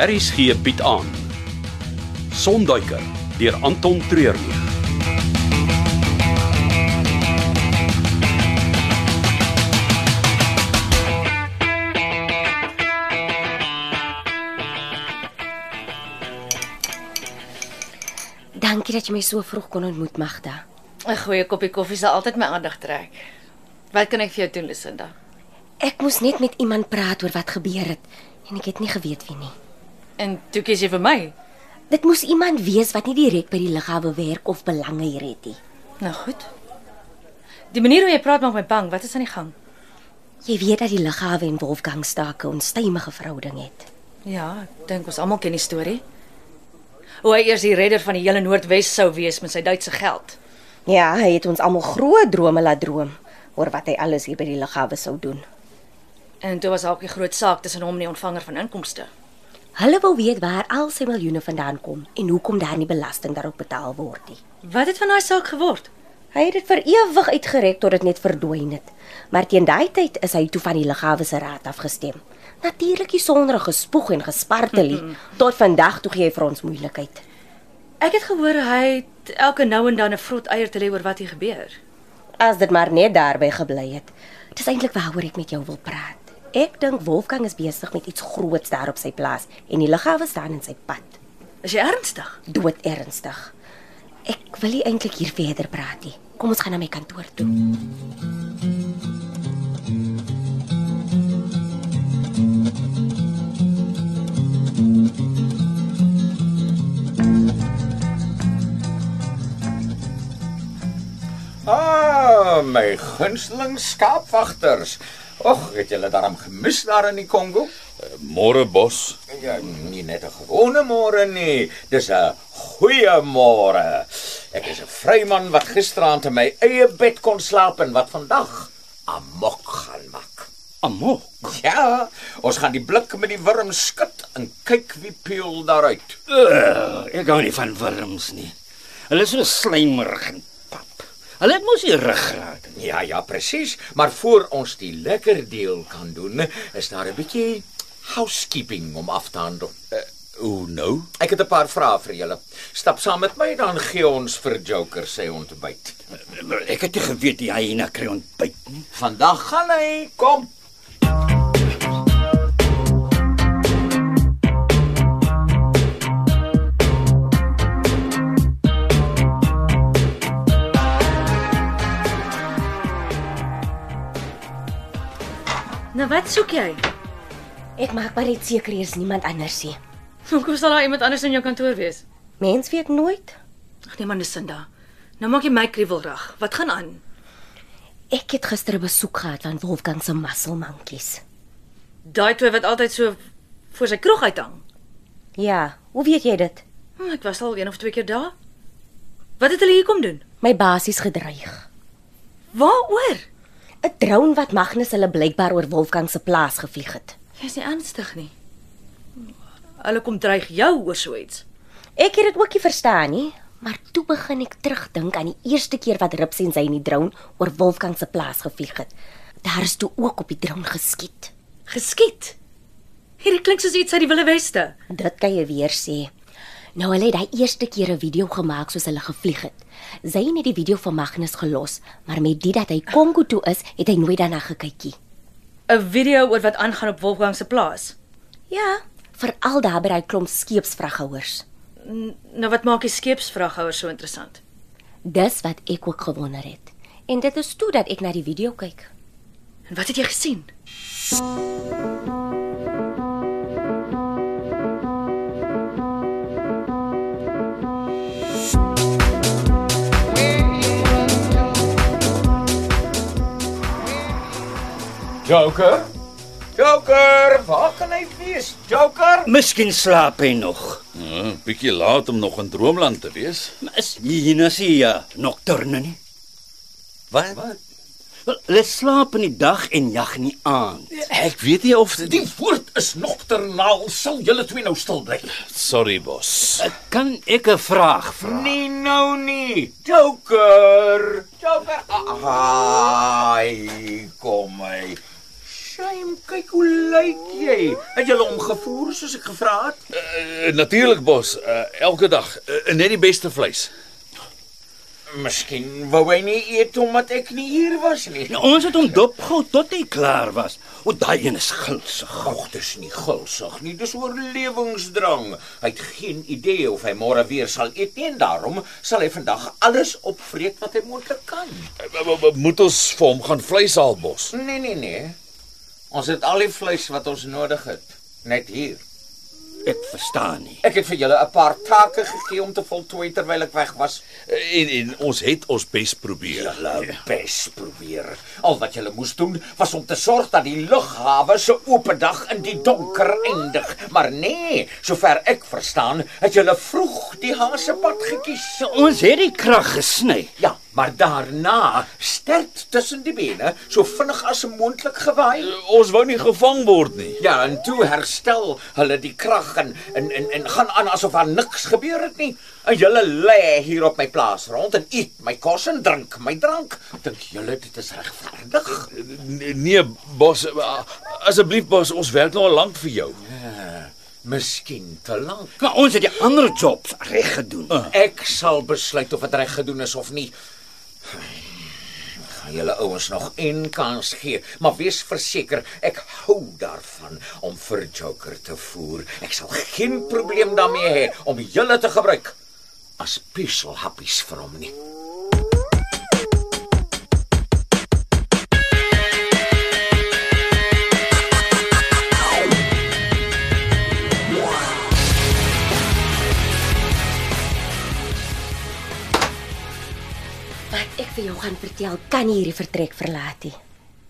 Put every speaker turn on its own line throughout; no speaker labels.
RSG bied aan Sonduiker deur Anton Treurnig.
Dankie dat jy my so vroeg kon ontmoet, Magda.
'n Goeie koppie koffie sal altyd my aandag trek. Wat kan ek vir jou doen, Lusinda?
Ek moes net met iemand praat oor wat gebeur het en ek het nie geweet wie nie.
En toe kies jy vir my.
Dit moes iemand wees wat nie direk by die lughawe werk of belange hier het nie.
Nou goed. Die manier hoe jy praat maak my bang. Wat is aan die gang?
Jy weet dat die lughawe en Wolfgang Stake 'n onstuimige verhouding het.
Ja, ek dink ons almal ken die storie. Hoe hy eers die redder van die hele Noordwes sou wees met sy Duitse geld.
Ja, hy het ons almal groot drome laat droom oor wat hy alles hier by die lughawe sou doen.
En toe was daar ook die groot saak tussen hom en die ontvanger van inkomste.
Hulle wil weet waar al sy miljoene vandaan kom en hoekom daar nie belasting daarop betaal word nie.
Wat het van daai saak geword?
Hy het dit vir ewig uitgereg tot dit net verdwyn het. Maar teen daai tyd is hy toe van die lughawe se raad afgestem. Natuurlik sonder gespoeg en gespartelie tot vandag toe gee hy vir ons moeilikheid.
Ek het gehoor hy het elke nou en dan 'n vrot eier te lê oor wat hier gebeur.
As dit maar net daarby gebly het. Dis eintlik waaroor ek met jou wil praat. Ek dink Wolfgang is besig met iets groots daar op sy plaas en die lughawe staan in sy pad.
Is jy ernstig?
Dood ernstig. Ek wil nie eintlik hier verder praat nie. Kom ons gaan na my kantoor toe.
Ah, my gunsteling skaapwagters. Och, het julle daarom gemis daar in die Kongo?
Môre Bos,
Ja, nie net 'n gewone môre nie, dis 'n goeie môre. Ek is 'n vryman wat gisteraand in my eie bed kon slaap en wat vandag amok gaan maak.
Amok.
Ja, ons gaan die blik met die wurm skud en kyk wie peel daaruit.
Ugh, ek hou nie van wurms nie. Hulle is so slijmerig en pap. Hulle het mos nie ruggraat nie.
Ja, ja, presies, maar voor ons die lekker deel kan doen, is daar 'n bietjie housekeeping om af te handel.
hoe nou?
Ek het 'n paar vrae vir julle. Stap saam met my dan gee ons vir Joker sy ontbyt.
Maar Ek het nie geweet die hyena kry ontbyt nie.
Vandag gaan hy kom.
Nou wat soek jy?
Ek maak maar net seker hier is niemand anders nie.
Hoekom sal daar iemand anders in jou kantoor wees?
Mens weet nooit.
Ag nee man, Lucinda. Nou maak jy my kriewelrag. Wat gaan aan?
Ek het gister 'n besoek gehad van Wolfgang se musselmankies.
Daai twee wat altyd so voor sy kroeg uithang.
Ja, hoe weet jy dit?
Hm, ek was al een of twee keer daar. Wat het hulle hier kom doen?
My basies gedreig.
Waaroor?
'n Drone wat Magnus hulle blykbaar oor Wolfgang se plaas gevlieg het.
Jy's nie ernstig nie. Hulle kom dreig jou oor so iets.
Ek het dit ook nie verstaan nie, maar toe begin ek terugdink aan die eerste keer wat Rips en sy in die drone oor Wolfgang se plaas gevlieg het. Daar is toe ook op die drone geskiet.
Geskiet. Hierdie klink soos iets uit die Wilde Weste.
Dit kan jy weer sê. Nou hulle het daai eerste keer 'n video gemaak soos hulle gevlieg het. Zayn het die video van Magnus gelos, maar met dit dat hy Kongo toe is, het hy nooit daarna gekykie.
'n Video oor wat aangaan op Wolfgang se plaas.
Ja, veral daar by daai klomp skeepsvraghouers.
N nou wat maak die skeepsvraghouer so interessant?
Dis wat ek ook gewonder het. En dit is toe dat ek na die video kyk.
En wat het jy gesien?
Joker? Joker, waar kan hy wees? Joker?
Miskien slaap hy nog.
Uh, bietjie laat om nog in droomland te wees.
Maar Is die hyena se ja, nocturne nie?
Wat?
Wel, hulle slaap in die dag en jag in die aand.
Ek weet nie of dit
Die woord is nogternaal. Sal julle twee nou stil bly?
Sorry Bos.
Kan ek 'n vraag vra?
Nee, nou nie. Joker. Joker. Ai, kom my. Shame kyk hoe lyk jy. Het jy hom gevoer soos ek gevra het?
Uh, Natuurlik bos, uh, elke dag uh, net die beste vleis.
Miskien wou hy nie eet omdat ek nie hier was nie.
Nou, ons het hom dopgehou tot hy klaar was. O, daai een is gulsig.
Ag, dis nie gulsig nie, dis oorlewingsdrang. Hy het geen idee of hy môre weer sal eet nie en daarom sal hy vandag alles opvreet wat hy moontlik kan.
Uh, uh, uh, moet ons vir hom gaan vleis haal bos.
Nee, nee, nee. Ons het al die vleis wat ons nodig het, net hier.
Ek verstaan nie.
Ek het vir julle 'n paar take gegee om te voltooi terwyl ek weg was.
Uh, en, en ons het ons bes probeer.
Julle bes probeer. Al wat julle moes doen was om te sorg dat die lughawe se oop dag in die donker eindig. Maar nee, sover ek verstaan, het julle vroeg die hasepad gekies.
So, ons het die krag gesny.
Ja, maar daarna sterk tussen die bene, so vinnig as moontlik gewaai.
Uh, ons wou nie gevang word nie.
Ja, en toe herstel hulle die krag en en en, en gaan aan asof daar niks gebeur het nie. En julle lê hier op my plaas rond en eet my kos en drink my drank. Dink julle dit is regverdig?
Nee, nee bos, uh, asseblief bos, ons werk nog al lank vir jou.
Miskien te lank.
Maar ons het die ander jobs reg gedoen. Uh.
Ek sal besluit of dit reg gedoen is of nie. Ek gaan Julle ouens nog een kans gee, maar wees verseker, ek hou daarvan om vir Joker te voer. Ek sal geen probleem daarmee hê om julle te gebruik as pieselhappies vir hom nie.
Wat ek vir jou gaan vertel, kan nie hierdie vertrek verlaat nie.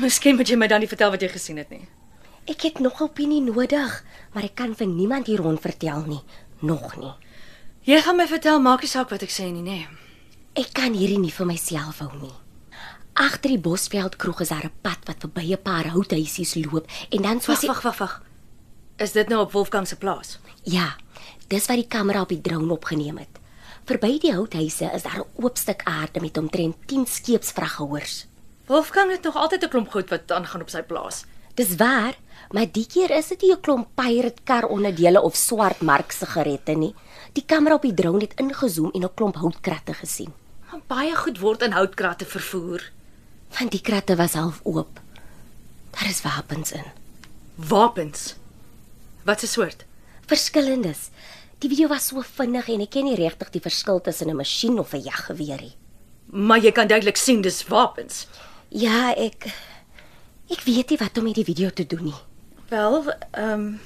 Miskien moet jy my dan nie vertel wat jy gesien het nie.
Ek het nog 'n opinie nodig, maar ek kan vir niemand hier rond vertel nie, nog nie.
Jy gaan my vertel, maak nie saak wat ek sê nie, nê. Nee.
Ek kan hierdie nie vir myself hou nie. Agter die Bosveld kroeg is daar 'n pad wat verby 'n paar houthuisies loop en dan soos
Wag,
die-
wag, wag, wag. Is dit nou op Wolfgang se plaas?
Ja, dis wat die kamera op die drone opgeneem het. Verby die houthuise is daar 'n oop stuk aarde met omtrent 10 skeepsvraghouers.
Wolfgang het nog altyd 'n klomp goed wat aangaan op sy plaas.
Dis waar, maar die keer is dit nie 'n klomp pirate kar onderdele of swart mark sigarette nie. Die kamera op die drone het ingezoom en 'n klomp houtkratte gesien.
Maar baie goed word in houtkratte vervoer.
Van die kratte was half oop. Daar is wapens in.
Wapens. Wat 'n soort?
Verskillendes. Die video was so vinnig en ek ken nie regtig die verskil tussen 'n masjien of 'n jaggeweer nie.
Maar jy kan duidelik sien dis wapens.
Ja, ek ek weet nie wat om met die video te doen nie.
Wel, ehm um,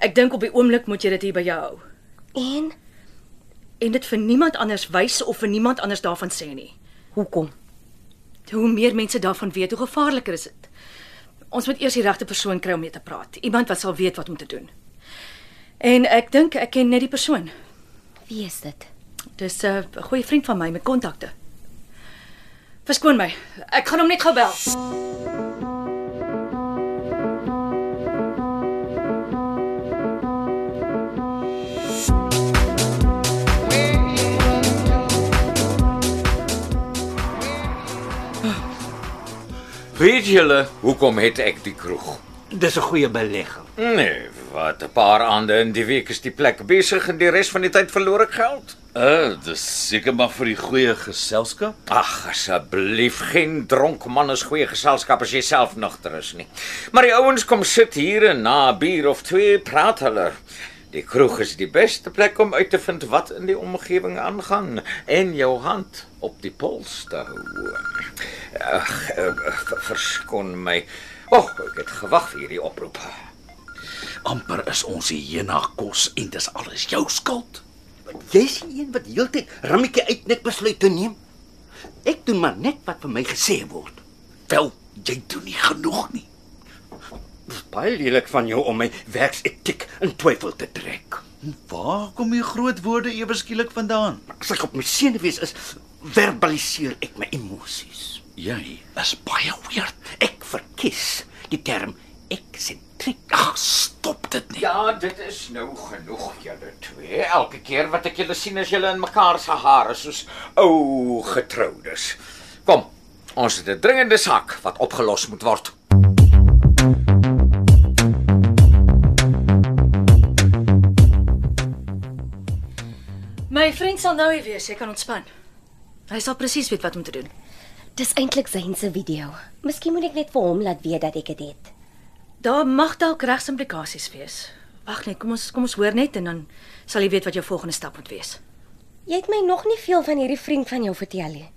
ek dink op die oomblik moet jy dit hier by jou hou
En
en dit vir niemand anders wys of vir niemand anders daarvan sê nie.
hoekom?
Hoe meer mense daarvan weet, hoe gevaarliker is dit. Ons moet eers die regte persoon kry om mee te praat, iemand wat sal weet wat om te doen. En ek dink ek ken net die persoon.
Wie is dit?
Dis 'n uh, goeie vriend van my met kontakte. Verskoon my. Ek gaan hom net gou bel.
Weet julle hoekom het ek die kroeg?
Dis 'n goeie belegging.
Nee, wat 'n paar aande in die week is die plek besig en die res van die tyd verloor ek geld.
Uh, dis seker maar vir die goeie geselskap.
Ag, asseblief, geen dronk man is goeie geselskap as jy self nugter is nie. Maar die ouens kom sit hier en na 'n bier of twee praat hulle. Die kroeg is die beste plek om uit te vind wat in die omgewing aangaan en jou hand op die pols te hou. Ag, eh, ver- verskoon my. O, oh, ek het gewag vir hierdie oproep.
Amper is ons hierna kos en dis alles jou skuld.
Jy's die een wat heeltyd rammetjie uitnik besluit te neem. Ek doen maar net wat vir my gesê word.
Wel, jy doen nie genoeg nie.
Dis baie lelik van jou om my werksetiek in twyfel te trek.
Waar kom die groot woorde ewe skielik vandaan?
As ek op my senuwees is, verbaliseer ek my emosies.
Jy is baie weird.
Ek verkies die term eksentriek.
Ag, stop dit net.
Ja, dit is nou genoeg julle twee. Elke keer wat ek julle sien is julle in mekaar se hare soos ou getroudes. Kom, ons het 'n dringende saak wat opgelos moet word.
My vriend sal nou hier wees, hy kan ontspan. Hy sal presies weet wat om te doen.
Dis eintlik Zayn se video. Miskien moet ek net vir hom laat weet dat ek dit het.
Daar mag dalk regs implikasies wees. Wag net, kom ons kom ons hoor net en dan sal jy weet wat jou volgende stap moet wees.
Jy het my nog nie veel van hierdie vriend van jou vertel nie.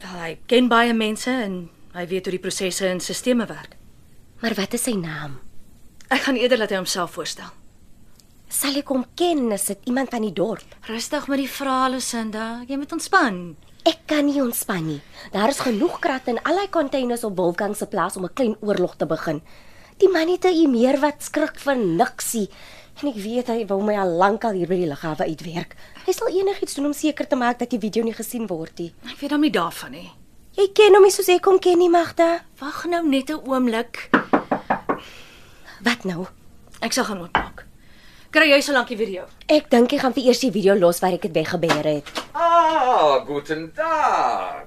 Wel, hy ken baie mense en hy weet hoe die prosesse en sisteme werk.
Maar wat is sy naam?
Ek gaan eerder laat hy homself voorstel.
Sal ek hom ken as dit iemand van die dorp?
Rustig met die vrae, Lusinda. Jy moet ontspan.
Ek kan nie ontspan nie. Daar is genoeg krat in al die containers op Wolfgang se plaas om 'n klein oorlog te begin. Die man het 'n humeur wat skrik vir niksie. En ek weet hy wou my al lank al hier by die lughawe uitwerk. Hy sal enigiets doen om seker te maak dat die video nie gesien word nie.
Ek weet hom nie daarvan nie.
Jy ken hom nie soos ek hom ken nie, Magda.
Wag nou net 'n oomblik.
Wat nou?
Ek sal gaan oopmaak. Kry jy so lank die video?
Ek dink ek gaan vir eers die video los waar ek dit weggebeer het.
Ah, guten Tag.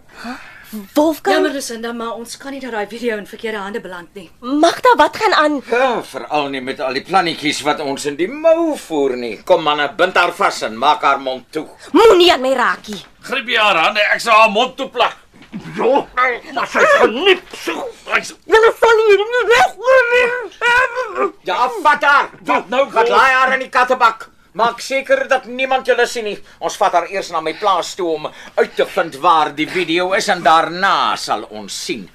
Wolfgang,
Jammer Lusinda, maar ons kan nie dat daai video in verkeerde hande beland nie.
Magda, wat gaan aan?
Ja, veral nie met al die plannetjies wat ons in die mou voer nie. Kom manne, bind haar vas en maak haar mond toe.
Moenie aan my raakie.
Gryp jy haar hande, ek sal haar mond toe plak. Jo, maar sy geniep so. Hy's
Julle sal hier nie wegloop nie.
Ja, vat haar.
Wat nou,
Gaan
Wolf?
laai haar in die kattebak. Maak seker dat niemand julle sien nie. Ons vat haar eers na my plaas toe om uit te vind waar die video is en daarna sal ons sien.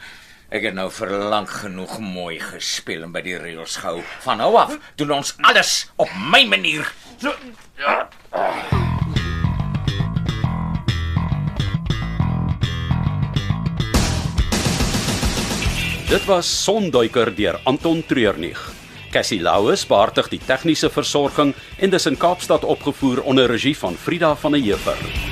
Ek het nou vir lank genoeg mooi gespeel en by die reëls gehou. Van nou af doen ons alles op my manier.
so. Ja.
Dit was Sonduiker deur Anton Treurnig. Cassie Louws beheerdig die tegniese versorging en dis in Kaapstad opgevoer onder regie van Frida van der Heever.